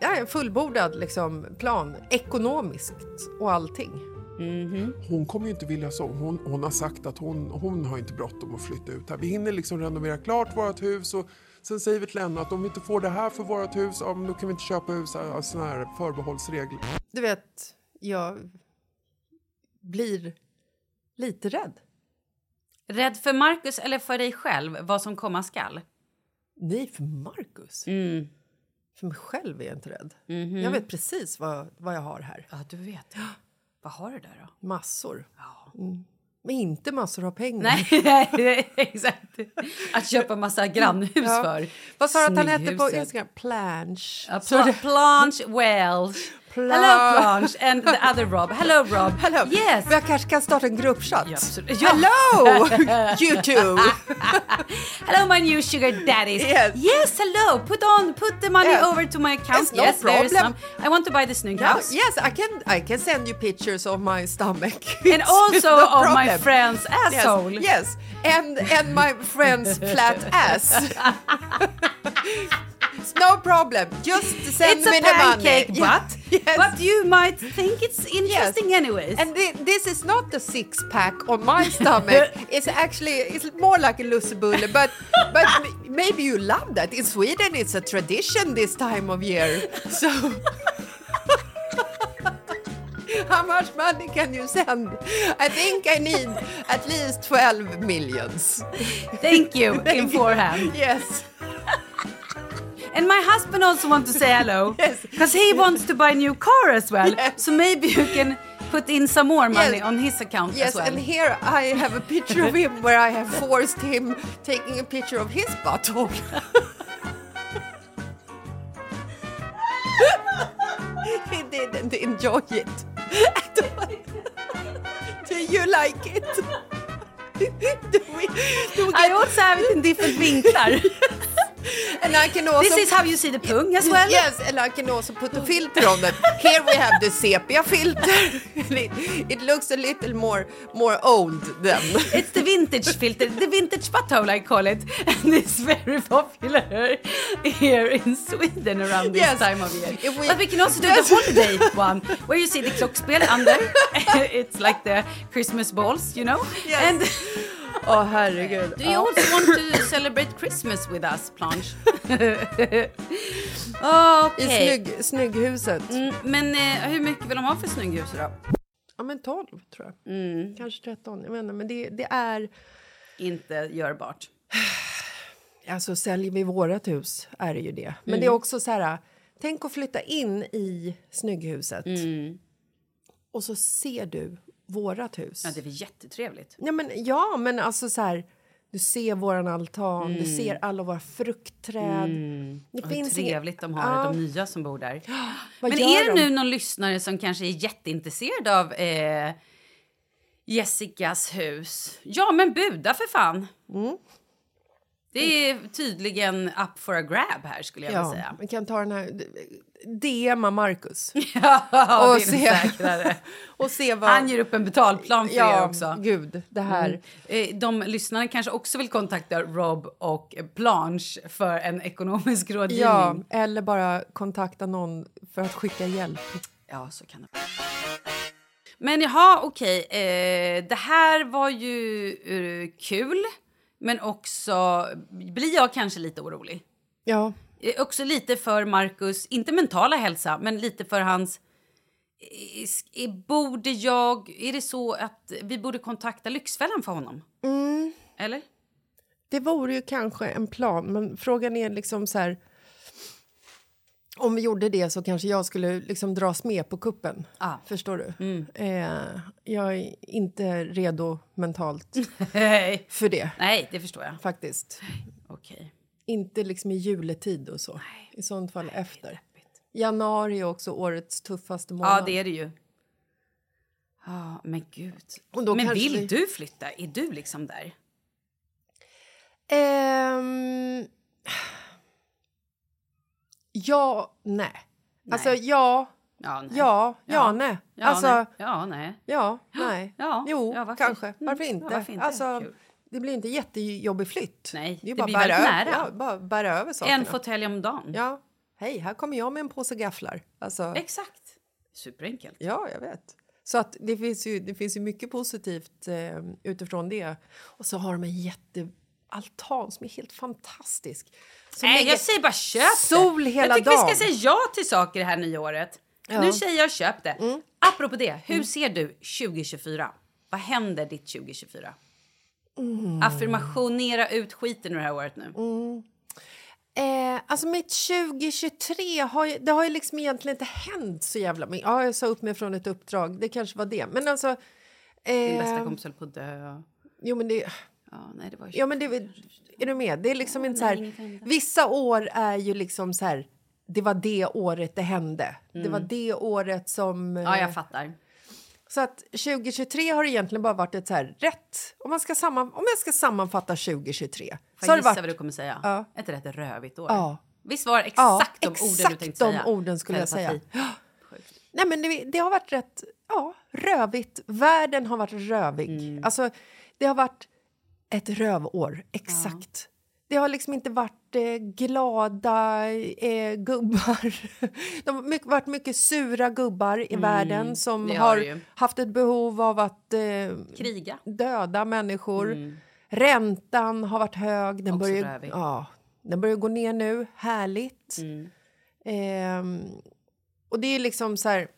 ja, en fullbordad liksom plan, ekonomiskt och allting. Hon kommer ju inte vilja så. Hon, hon har sagt att hon, hon har inte bråttom att flytta ut här. Vi hinner liksom renovera klart vårt hus och sen säger vi till henne att om vi inte får det här för vårt hus, ja, men då kan vi inte köpa hus. Alltså, såna här förbehållsregler. Du vet, jag blir lite rädd. Rädd för Marcus eller för dig själv, vad som komma skall? Nej, för Marcus. Mm. För mig själv är jag inte rädd. Jag vet precis vad, vad jag har här. Mhm. Ja, du vet. Vad har du där då? Massor. Mm. Men inte massor av pengar. Nej, nej, nej, exakt. Att köpa massa grannhus Ja. för. Vad sa du att han hette på Snygghuset. Instagram? Planche. Ja, pla- Planche Wells. Pla- Hello Planche and the other Rob. Hello Rob. Hello. Yes. Jag kanske kan starta en gruppchatt? Ja, absolut. Ja. Hello! YouTube! Hello my new sugar daddies. Yes. hello. Put on, put the money Yes. over to my account. It's no yes, there is problem. some. I want to buy this new Yeah, house. yes, I can, I can send you pictures of my stomach. And also no of my problem. friend's Yes, asshole. yes. And, and my friend's flat ass. It's no problem. Just send It's me a the money. pancake, Yeah. but Yes. but you might think it's interesting anyways. And thi- this is not a six pack on my stomach. it's actually it's more like a lussebulle. But but m- maybe you love that. In Sweden, it's a tradition this time of year. So. How much money can you send? I think I need at least 12 millions. Thank you in forehand. Yes. And my husband also wants to say hello because he wants to buy a new car as well. Yes. So maybe you can put in some more money Yes. on his account Yes, as well. and here I have a picture of him where I have forced him taking a picture of his butthole. he didn't enjoy it at all. Do you like it? do we, do we I get, also have it in different vinklar. and I can also This is how you see the pung as well. Yes, and I can also put a filter on them. Here we have the sepia filter. it, it looks a little more more old than. It's the vintage filter, the vintage butthole I call it. And it's very popular here in Sweden around this Yes. time of year. If we- but we can also do Yes. the holiday one where you see the klockspel under. it's like the Christmas balls, you know? Yes. And Åh herregud. do you also want to celebrate Christmas with us, Planche? Ah, Okej. I snygg, snygghuset. Mm, Men eh, hur mycket vill de ha för snygghus då? Ja, men 12 tror jag. Mm. Kanske 13. Jag vet inte, men det, det är... Inte görbart. Alltså säljer vi vårat hus är det ju det. Mm. Men det är också så här, tänk att flytta in i snygghuset. Mm. Och så ser du vårat hus. Ja, det är väl jättetrevligt. Ja, men, ja, men alltså så här... Du ser våran altan, du Mm. ser alla våra fruktträd. Det Och hur finns Mm. inget- trevligt de har det, de nya som bor där. Vad Men gör är det de? nu någon lyssnare som kanske är jätteintresserad av eh, Jessicas hus? Ja, men buda för fan! Mm. Det är tydligen up for a grab här skulle jag vilja Ja, säga. vi kan ta den här... DMa Marcus. Ja, Och det är nog se- säkrare. Och se vad... Han ger upp en betalplan för er också. gud, det här... Eh, De lyssnarna kanske också vill kontakta Rob och Planche för en ekonomisk rådgivning. Ja, eller bara kontakta någon för att skicka hjälp. Ja, så kan det vara. Men jaha, okej. Eh, det här var ju eh, kul, men också blir jag kanske lite orolig. Ja, Eh, också lite för Marcus, inte mentala hälsa, men lite för hans... eh, sk- eh, Borde jag... Är det så att vi borde kontakta Lyxfällan för honom? Eller? det vore ju kanske en plan, men frågan är liksom så här... Om vi gjorde det så kanske jag skulle liksom dras med på kuppen. Ah. Förstår du? Eh, jag är inte redo mentalt Nej. för det, Nej, det förstår jag. faktiskt. Okej. Inte liksom i juletid och så. I sånt fall efter. Januari är också årets tuffaste månad. Ja, det är det ju. Ja, men gud. Och då men kanske vill vi- du flytta? Är du liksom där? Ehm... Ja, nej. Alltså, ja, Ja, nej. ja, ja, nej. Ja, alltså, nej. ja, nej. ja, nej. Ja, jo, ja, varför- kanske. mm, Varför ja, inte? varför inte? Alltså, Kul. det blir inte jättejobbig flytt. Nej, det, är ju det bara blir bära väldigt över- nära. Ja, bara bära över sakerna. En fåtölj om dagen. Ja. Hej, här kommer jag med en påse gafflar. Alltså, Exakt. Superenkelt. ja, jag vet. Så att det, finns ju, det finns ju mycket positivt eh, utifrån det. Och så har de en jättealtan som är helt fantastisk. Som Nej, lägger- jag säger bara köp Sol det. hela jag tycker vi dagen. ska säga ja till saker det här nyåret. Nu säger jag köp det. Mm. Apropå det, hur ser du 2024? Vad händer ditt 2024? Mm. Affirmationera ut skiten ur det här året nu. Eh, alltså mitt 2023 har ju, det har ju liksom egentligen inte hänt så jävla mycket. Ja, jag sa upp mig från ett uppdrag, det kanske var det. Men alltså... Din Eh, bästa kompis höll på att dö. jo, men det, Ja, nej, det var ju ja, men det är du med? Det är liksom inte så här, vissa år är ju liksom så här, det var det året det hände. Det var det året som... Mm. Ja, eh, jag fattar. Så att 2023 har egentligen bara varit ett så här rätt... Om, man ska samman, om jag ska sammanfatta 2023 Får så jag har det gissa varit... vad du kommer säga? Ja. Ett rätt rövigt år. Ja. Visst var det Ja, exakt de orden du exakt tänkte de säga? orden skulle jag säga. Telepati. Nej, men det, det har varit rätt ja, rövigt. Världen har varit rövig. Mm. Alltså, det har varit ett rövår, exakt. Det har liksom inte varit eh, glada eh, gubbar. Det har mycket, varit mycket sura gubbar i världen som Mm, det har det har ju. haft ett behov av att eh, Kriga. döda människor. Räntan har varit hög. Den Mm. Också börjar, rövig. ja, den börjar gå ner nu. Härligt. Mm. Ehm, och det är liksom så här...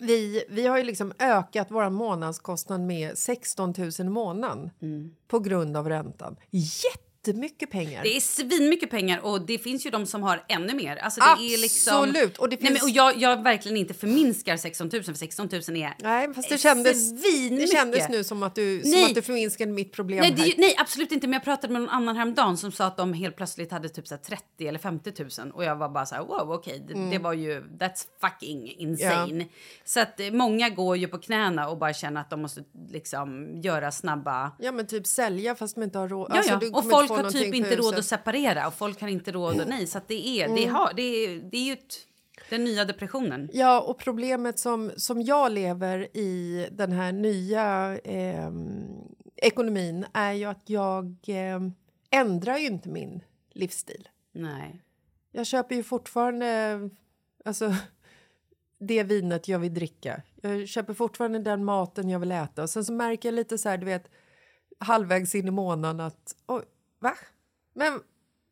Vi, vi har ju liksom ökat vår månadskostnad med 16 000 i månaden Mm. på grund av räntan. Jättemycket pengar! Det är svinmycket pengar och det finns ju de som har ännu mer. Alltså det Är liksom, Absolut, och det Nej, men, finns- och jag, jag verkligen inte förminskar 16 000 för 16 000 är Nej, fast det kändes, det svinmycket. kändes nu som att du, som Nej. att du förminskade mitt problem Nej, det, är här. ju- nej, absolut inte. Men jag pratade med någon annan häromdagen som sa att de helt plötsligt hade typ så här 30 eller 50 000 och jag var bara så här wow okej det, Mm. det var ju that's fucking insane. Så att eh, många går ju på knäna och bara känner att de måste liksom göra snabba Ja, men typ sälja fast man inte har råd. Ja, Alltså, ja. du kommer och inte folk få har någonting typ för inte råd huset. Mm. att separera och folk har inte råd att nej. Så att det, är, det, har, det, är, det är ju ett, den nya depressionen. Ja, och problemet som, som jag lever i den här nya ehm, ekonomin är ju att jag ehm, ändrar ju inte min livsstil. Nej. Jag köper ju fortfarande... Alltså, det vinet jag vill dricka. Jag köper fortfarande den maten jag vill äta. Och Sen så märker jag lite så här, du vet, halvvägs in i månaden att... Oj, va? Men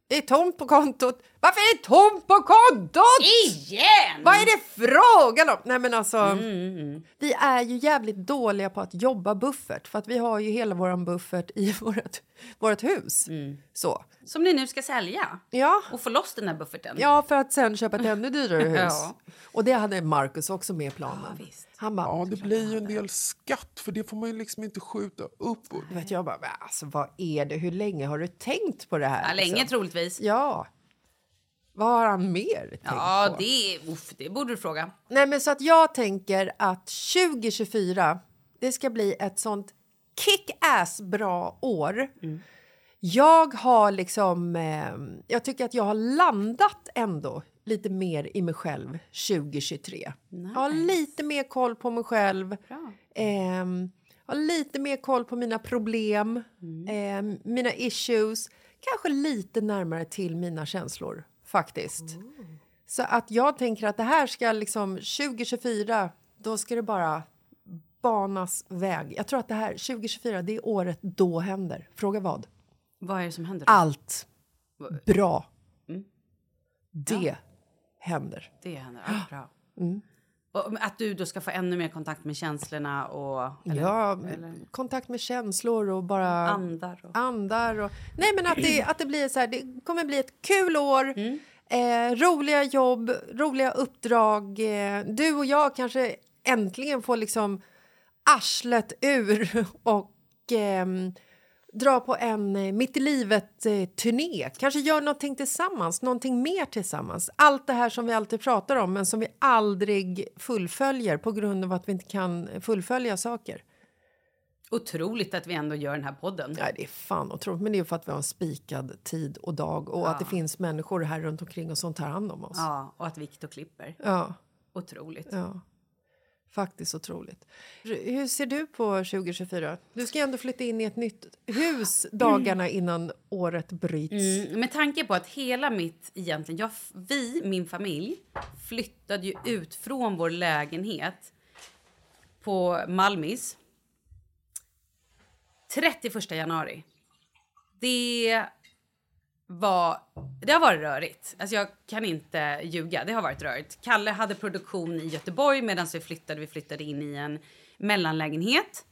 Det är tomt på kontot. Varför är det tomt på kontot? Igen! Vad är det frågan om? Nej, men alltså, Mm, Vi är ju jävligt dåliga på att jobba buffert för att vi har ju hela vår buffert i vårt, vårt hus. Så. Som ni nu ska sälja Ja. Mm. och få loss den här bufferten. ja, för att sen köpa ett ännu dyrare hus. Ja. Och det hade Marcus också med i planen. Han bara, Ja, det blir ju en del skatt för det får man ju liksom inte skjuta upp. Och du vet, jag bara, men alltså, vad är det? Hur länge har du tänkt på det här? Ja, länge liksom? troligtvis. Ja. Vad har han mer tänkt Ja, på? det, uff, det borde du fråga. Nej, men så att jag tänker att 2024, det ska bli ett sånt kick-ass bra år. Jag har liksom, eh, jag tycker att jag har landat ändå lite mer i mig själv 2023. Jag har lite mer koll på mig själv. Ehm, har lite mer koll på mina problem, ehm, mina issues. Kanske lite närmare till mina känslor faktiskt. Så att jag tänker att det här ska liksom 2024, då ska det bara banas väg. Jag tror att det här 2024, det är året då händer. Fråga vad? Vad är det som händer? Då? Allt bra. Det händer. Det händer. Ja, bra. Mm. Och att du då ska få ännu mer kontakt med känslorna och eller, ja, kontakt med känslor och bara andar. Och, andar. Och, nej, men att det, att det blir så här, det kommer bli ett kul år. Eh, roliga jobb, roliga uppdrag. Eh, du och jag kanske äntligen får liksom arslet ur och ehm, dra på en eh, Mitt i livet-turné. Kanske gör någonting tillsammans, någonting mer tillsammans. Allt det här som vi alltid pratar om men som vi aldrig fullföljer på grund av att vi inte kan fullfölja saker. otroligt att vi ändå gör den här podden. Nej, det är fan otroligt. Men det är ju för att vi har en spikad tid och dag och att det finns människor här runt omkring och som tar hand om oss. Ja, och att Viktor klipper. Ja, Otroligt. ja. Faktiskt otroligt. R- Hur ser du på 2024? Du ska ju ändå flytta in i ett nytt hus dagarna innan året bryts. Mm, med tanke på att hela mitt, egentligen, jag, vi, min familj, flyttade ju ut från vår lägenhet på Malmis 31 januari. Det var, det har varit rörigt. Alltså jag kan inte ljuga. Det har varit rörigt. Kalle hade produktion i Göteborg medan vi flyttade. Vi flyttade in i en mellanlägenhet.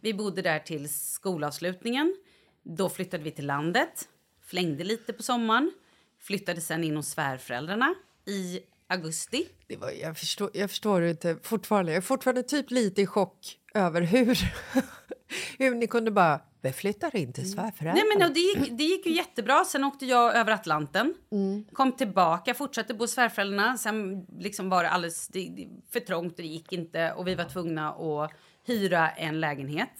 Vi bodde där till skolavslutningen. Då flyttade vi till landet, flängde lite på sommaren. Flyttade sen in hos svärföräldrarna i augusti. Det var, jag, förstår, jag förstår inte fortfarande. Jag är fortfarande typ lite i chock över hur, hur ni kunde bara... Vi flyttar in till svärföräldrarna. Mm. Nej, men och det, gick, det gick ju jättebra. Sen åkte jag över Atlanten, kom tillbaka, fortsatte bo hos svärföräldrarna. Sen liksom var det alldeles det, det, för trångt och det gick inte och vi var tvungna att hyra en lägenhet.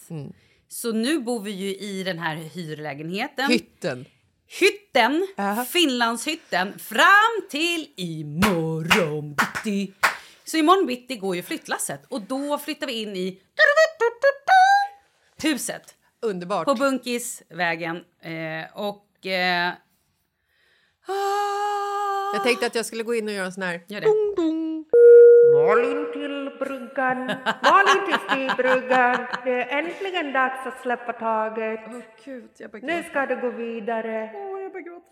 Så nu bor vi ju i den här hyrlägenheten. Hytten. Hytten, Jaha. Finlandshytten, fram till imorgon bitti. Så imorgon bitti går ju flyttlasset och då flyttar vi in i huset Underbart. på Bunkisvägen. Eh, och... Eh, ah, Jag tänkte att jag skulle gå in och göra en sån här... gör det. Malin till bryggan, Malin till stigbryggan. Det är äntligen dags att släppa taget. nu ska det gå vidare.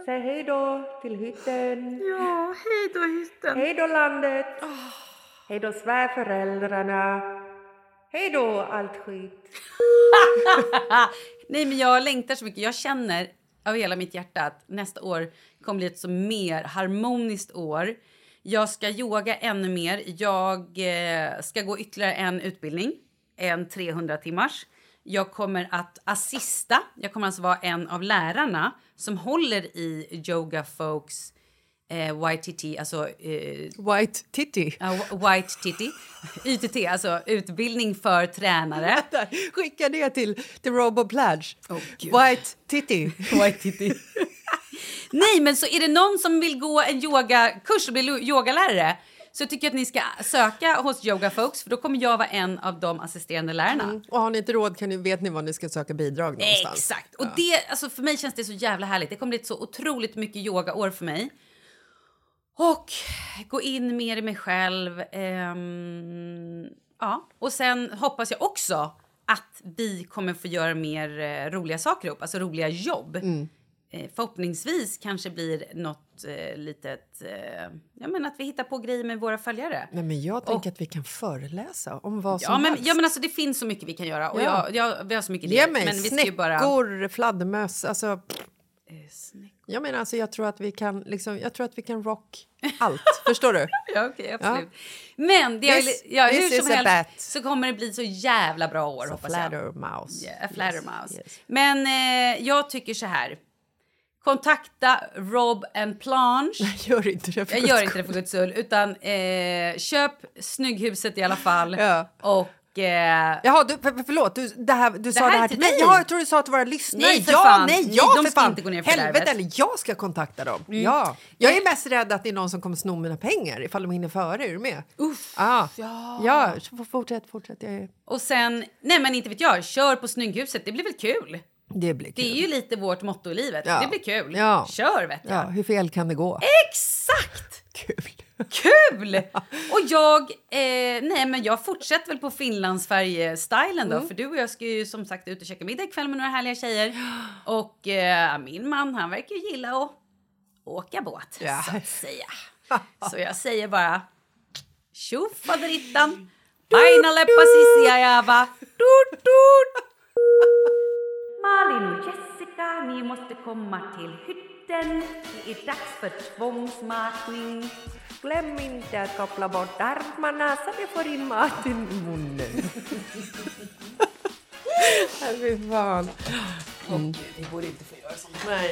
Säg hej då till hytten. Ja, hej då hytten. Hej då landet. Ah. Hej då svärföräldrarna. Hej då allt skit. Nej, men jag längtar så mycket. Jag känner av hela mitt hjärta att nästa år kommer bli ett så mer harmoniskt år. Jag ska yoga ännu mer. Jag eh, ska gå ytterligare en utbildning, en 300 timmars. Jag kommer att assista. Jag kommer alltså vara en av lärarna som håller i Yoga Folks eh, YTT, alltså eh, White titty. Ja, wh- White Titty. YTT, alltså utbildning för tränare. Där, skicka det till, till Robo Pledge. Gud. White titty. White Titty. Nej, men så är det någon som vill gå en yogakurs och bli lo- yogalärare så tycker jag att ni ska söka hos Yoga Folks för då kommer jag vara en av de assisterande lärarna. Och har ni inte råd kan ni, vet ni var ni ska söka bidrag någonstans. Exakt. Och det, alltså för mig känns det så jävla härligt. Det kommer bli ett så otroligt mycket yogaår för mig. Och gå in mer i mig själv. ehm, ja. Och sen hoppas jag Mm. också att vi kommer få göra mer eh, roliga saker ihop, alltså roliga jobb. eh, förhoppningsvis kanske blir något eh, litet... Eh, ja, men att vi hittar på grejer med våra följare. Nej, men jag tänker att vi kan föreläsa om vad som Ja men, helst. ja, men alltså, det finns så mycket vi kan göra. Och Ja. jag, jag, vi har så mycket Ge idéer, mig men vi ska ju bara... Eh, snäckor, fladdermöss. Alltså, jag menar, alltså, jag tror att vi kan, liksom, jag tror att vi kan rock allt. förstår du? Ja, okej, absolut. Men det jag This- vill, ja, this hur som is a helst så kommer det bli så jävla bra år, Så hoppas jag. Fladdermouse. Yeah, a fladdermouse. Men eh, jag tycker så här. Kontakta Rob and Planche. Gör inte det för Jag guds gör inte det för guds skull. Utan eh, köp Snygghuset i alla fall. Ja. Och... Eh, Jaha, du, för, för- förlåt, du, det här, du sa här det är här till till mig. dig. Ja, jag tror du sa till våra lyssnare. Nej, för ja, fan. Nej, Nej, ja, de för ska fan. inte gå ner för Helvete, fördärvet. eller jag ska kontakta dem. Mm. Ja. Jag är mest rädd att det är någon som kommer sno mina pengar ifall de hinner före. Är du med? Uff. Ah. Ja. ja, så f- fortsätt, fortsätt. Jag är... Och sen, nej men inte vet jag, kör på Snygghuset. Det blir väl kul? Det blir kul. Det är ju lite vårt motto i livet. Ja. Det blir kul. Ja. Kör vet jag. Ja, hur fel kan det gå? Exakt! Kul! Kul! Och jag, eh, nej men jag fortsätter väl på Finlandsfärje-stylen då. För du och jag ska ju som sagt ut och käka middag ikväll med några härliga tjejer. Och eh, min man han verkar ju gilla att åka båt Ja. så att säga. Så jag säger bara tjo faderittan, baina leppa sisiajava, tut tut. Malin och Jessica, ni måste komma till hytten. Det är dags för tvångsmatning. Glöm inte att koppla bort armarna så vi får in maten i munnen. Fy fan. Vi borde inte få göra sånt. Nej.